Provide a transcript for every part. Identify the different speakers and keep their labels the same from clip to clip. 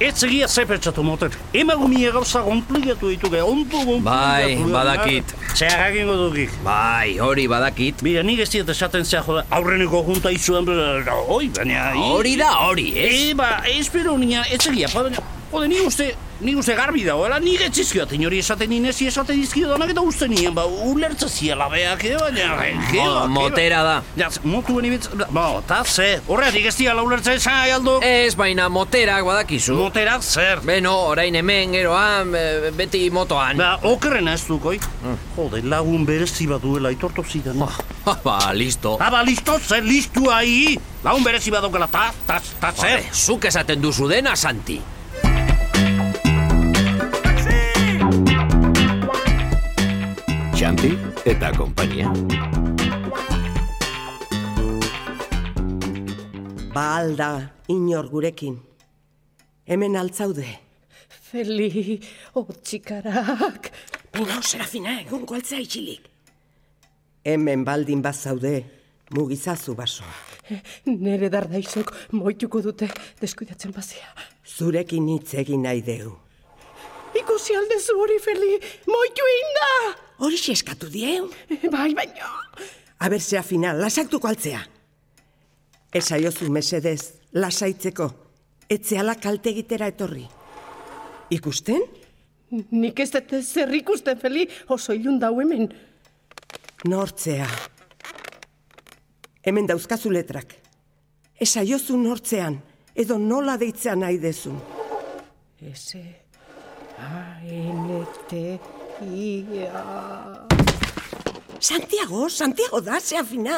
Speaker 1: Etzegia ze pentsatu moten. Emagumin gauza komplikatu dituke, ondo komplikatu.
Speaker 2: Bai, badakit.
Speaker 1: Zehar egingo dukik.
Speaker 2: Bai, hori badakit.
Speaker 1: Mira, nik ez diet esaten zea joda, aurreneko junta izuen, bera, oi, baina... i-
Speaker 2: Hori da hori, eh? ez?
Speaker 1: E, ba, espero nina, etzegia, pa, baina, jode, nik uste, nik uste garbi dagoela, nik ez zizkioaten hori esaten ninesi esaten dizkio danak eta uste nien, ba, ulertza ziela beak, e, baina, e, ke, ba, ke,
Speaker 2: Mo-
Speaker 1: ba.
Speaker 2: Motera da.
Speaker 1: Ja, motu beni bitz, ba, eta ze, horretik ez diala ulertzen esan, aialdo,
Speaker 2: Ez, baina moterak badakizu.
Speaker 1: motera zer.
Speaker 2: Beno, orain hemen, geroan, eh, beti motoan.
Speaker 1: Ba, okerrena ez dukoi. Jode, lagun berezi bat duela, aitortu zidan.
Speaker 2: Ha, ba, listo.
Speaker 1: Ah, ba, listo, zer, listu ahi. Lagun berezi bat daukala, ta, ta, ta, zer.
Speaker 2: Vale, zuk esaten duzu dena, Santi.
Speaker 3: Xanti eta konpainia.
Speaker 4: Ba alda, inor gurekin. Hemen altzaude.
Speaker 5: Feli, otxikarak.
Speaker 4: Baina, Serafina, egun koltzea itxilik. Hemen baldin bazaude, mugizazu basoa.
Speaker 5: Nere dardaizok moituko dute deskuidatzen bazia.
Speaker 4: Zurekin hitz egin nahi deu.
Speaker 5: Ikusi aldezu hori, Feli, moitu egin da!
Speaker 4: Hori eskatu dieu.
Speaker 5: Bai, baina...
Speaker 4: Aber, Serafina, lasaktuko altzea. Esaiozu mesedez, lasaitzeko, etzeala kalte egitera etorri. Ikusten?
Speaker 5: Nik ez dut zer ikusten, Feli, oso ilun dau hemen.
Speaker 4: Nortzea. Hemen dauzkazu letrak. Esaiozu nortzean, edo nola deitzea nahi dezun.
Speaker 5: S, A, N, T, I, A...
Speaker 4: Santiago, Santiago da, zea fina.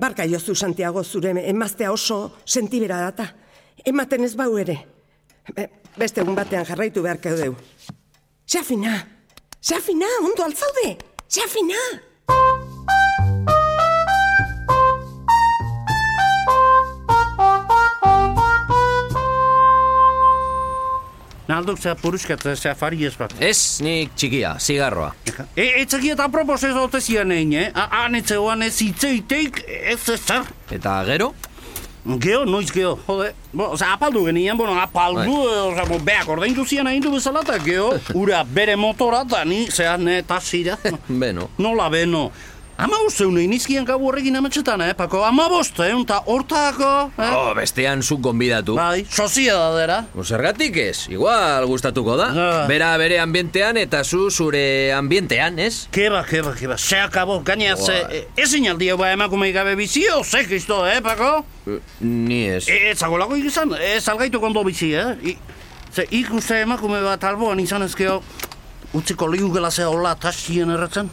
Speaker 4: Barka jozu, Santiago, zure emaztea oso sentibera data. Ematen ez bau ere. Be- beste egun batean jarraitu beharko deu. Zea fina, zea fina, ondo altzaude, zea fina.
Speaker 1: Naldok zea puruskat, zea fari ez bat.
Speaker 2: Ez, nik txikia, zigarroa.
Speaker 1: E, etzegi eta propos ez dote zian egin, eh? A- Han etzegoan ez hitzeiteik, ez ez zer.
Speaker 2: Eta gero?
Speaker 1: Geo, noiz geo, jode. Bo, oza, apaldu genien, bueno, apaldu, eh, oza, bo, beak ordaindu zian egin du bezala, eta geo, ura bere motora, eta ni, zea, ne, tasira.
Speaker 2: Beno.
Speaker 1: Nola beno. Ama bosteun egin izkian gabu eh? horrekin ametxetan, eh, Pako? Ama bosteun, eta hortako, eh?
Speaker 2: Oh, bestean zuk gonbidatu.
Speaker 1: Bai, soziedadera.
Speaker 2: Bo, Zergatik ez, igual gustatuko da.
Speaker 1: Ah.
Speaker 2: Bera bere ambientean eta zu zure ambientean, ez?
Speaker 1: Keba, keba, keba, ze akabo, gaina ze,
Speaker 2: Bai.
Speaker 1: e- ezin aldia ba emakumei gabe bizio, ze kristo, eh, Pako?
Speaker 2: Ni ez.
Speaker 1: E, ez agolako izan, ez algaitu kondo bizi, eh? I, ze ikuste emakume bat alboan izan ezkeo, utziko liugela ze hola tasien erretzen.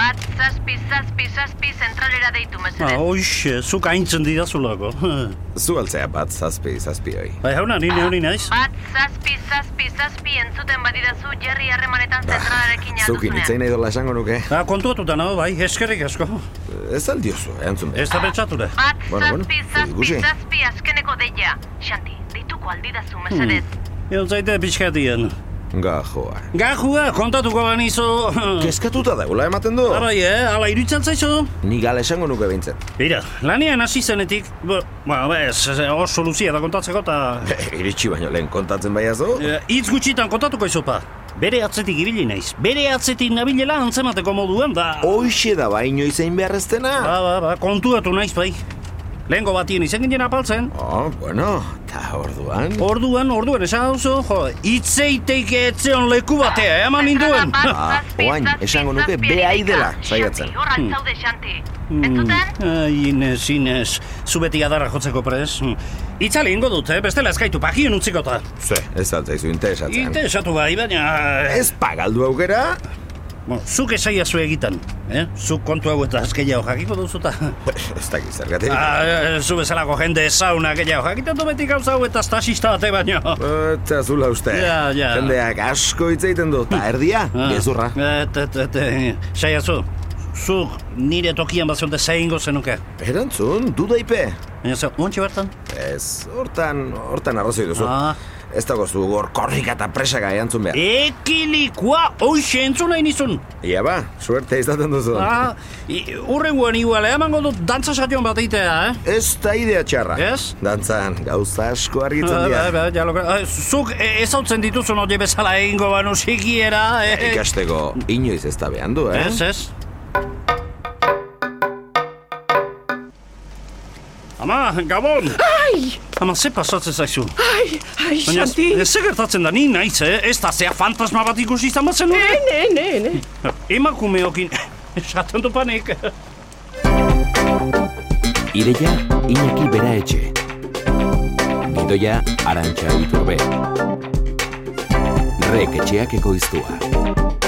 Speaker 6: Bat zazpi, zazpi, zazpi zentralera deitu
Speaker 1: Ba,
Speaker 6: mesedez.
Speaker 1: oixe, zuk haintzen didazulako.
Speaker 3: Zu altzea bat zazpi zazpi hori.
Speaker 1: Bai, jauna, nire hori naiz.
Speaker 6: Bat zazpi, zazpi, zazpi entzuten badidazu jerri harremanetan
Speaker 3: Ba,
Speaker 6: zentralarekin
Speaker 3: Zukin itzein
Speaker 6: alduzunean.
Speaker 3: nahi dola esango nuke.
Speaker 1: Ba, kontuatuta nago, bai, eskerrik asko.
Speaker 3: Ez eh, aldiozu, erantzun.
Speaker 1: Ez da pentsatu eh? da.
Speaker 6: Bat
Speaker 3: Bueno, bueno,
Speaker 6: zazpi, zazpi,
Speaker 3: ikusi.
Speaker 6: zazpi azkeneko deia. Xanti, deituko
Speaker 1: Hmm,
Speaker 6: aldidazu mesedez.
Speaker 1: Egon zaite pixkatien.
Speaker 3: Gajoa.
Speaker 1: Gajua, kontatuko banizu.
Speaker 3: eh. Kezkatuta daula ematen du.
Speaker 1: Ara, eh, ala iruditzen zaizu?
Speaker 3: Ni gala esango nuke behintzen.
Speaker 1: Bira, lanean hasi zenetik, bo, ba, bez, oso luzia da kontatzeko eta...
Speaker 3: Iritsi baino lehen kontatzen bai baiazu.
Speaker 1: Eh, Hitz gutxitan kontatuko izopa. Bere atzetik ibili naiz. Bere atzetik nabilela antzemateko moduan da...
Speaker 3: Hoixe da bai baino izein beharreztena.
Speaker 1: Oh. Ba, ba, ba, kontuatu naiz bai. Lehengo batien izen ginen apaltzen.
Speaker 3: Oh, bueno, ta orduan.
Speaker 1: Orduan, orduan, esan duzu, jo, itzeiteik etzeon leku batea, eh, eman ba, ninduen.
Speaker 6: Bat
Speaker 3: Ah,
Speaker 6: zazpi,
Speaker 3: oain,
Speaker 6: zazpi,
Speaker 3: esango nuke
Speaker 6: zazpi
Speaker 3: bea
Speaker 6: erika.
Speaker 3: dela saiatzen.
Speaker 6: Xanti, hor
Speaker 1: Hmm.
Speaker 6: altzaude, Xanti. Entzuten?
Speaker 1: Ai, Inez, Inez, eh, zu beti adarra jotzeko pres. Itzale ingo dut, eh? bestela eskaitu, pagien utzikota.
Speaker 3: Ze, ez altzaizu interesatzen.
Speaker 1: Inte esatu bai, baina...
Speaker 3: Ez pagaldu aukera.
Speaker 1: Bueno, zuk esaia zu egitan, eh? Zuk kontu hau eta azkeia jakiko duzuta.
Speaker 3: Ez dakit zergatik.
Speaker 1: Ah, eh, zu bezalako jende ezauna gehiago jakitatu beti gauza hau eta stasista bate baino. Ah.
Speaker 3: Eta zula uste.
Speaker 1: Ja, ja.
Speaker 3: Jendeak asko hitz egiten du. Ta erdia, gezurra.
Speaker 1: Et, et, et, eh, saia zu, zuk nire tokian bat zeunte zeingo zenuke.
Speaker 3: Erantzun, du daipe.
Speaker 1: Baina ze, ontsi bertan?
Speaker 3: Ez, hortan, hortan arrazoi duzu.
Speaker 1: Ah,
Speaker 3: Ez dago zu hor korrika eta presaka eantzun behar.
Speaker 1: Ekilikoa, hoxe entzun nahi nizun.
Speaker 3: Ia ba, suerte izaten duzu.
Speaker 1: Ah, i- hurrengoan igual, emango dut dantza sation bat egitea, eh?
Speaker 3: Ez da idea txarra.
Speaker 1: Ez?
Speaker 3: Dantzan, gauza asko argitzen
Speaker 1: Ah, bai,
Speaker 3: dira.
Speaker 1: bai, ja, loka- ah, Zuk eh, ezautzen dituzun hori bezala egingo banu sikiera, eh?
Speaker 3: Ikasteko inoiz ez da behan du, eh?
Speaker 1: Ez, ez. Ama, Gabon!
Speaker 5: Ai,
Speaker 1: Ama, ze pasatzen zaizu?
Speaker 5: ai, ai,
Speaker 1: Baina,
Speaker 5: Santi.
Speaker 1: ez ze gertatzen da, ni naiz, eh? Ez da, zea fantasma bat ikusi izan bat zen
Speaker 5: Ne, ne, ne, ne.
Speaker 1: Emakumeokin, esaten du panik.
Speaker 7: Ideia Iñaki Bera Etxe. Gidoia Arantxa Iturbe. Rek etxeak ekoiztua.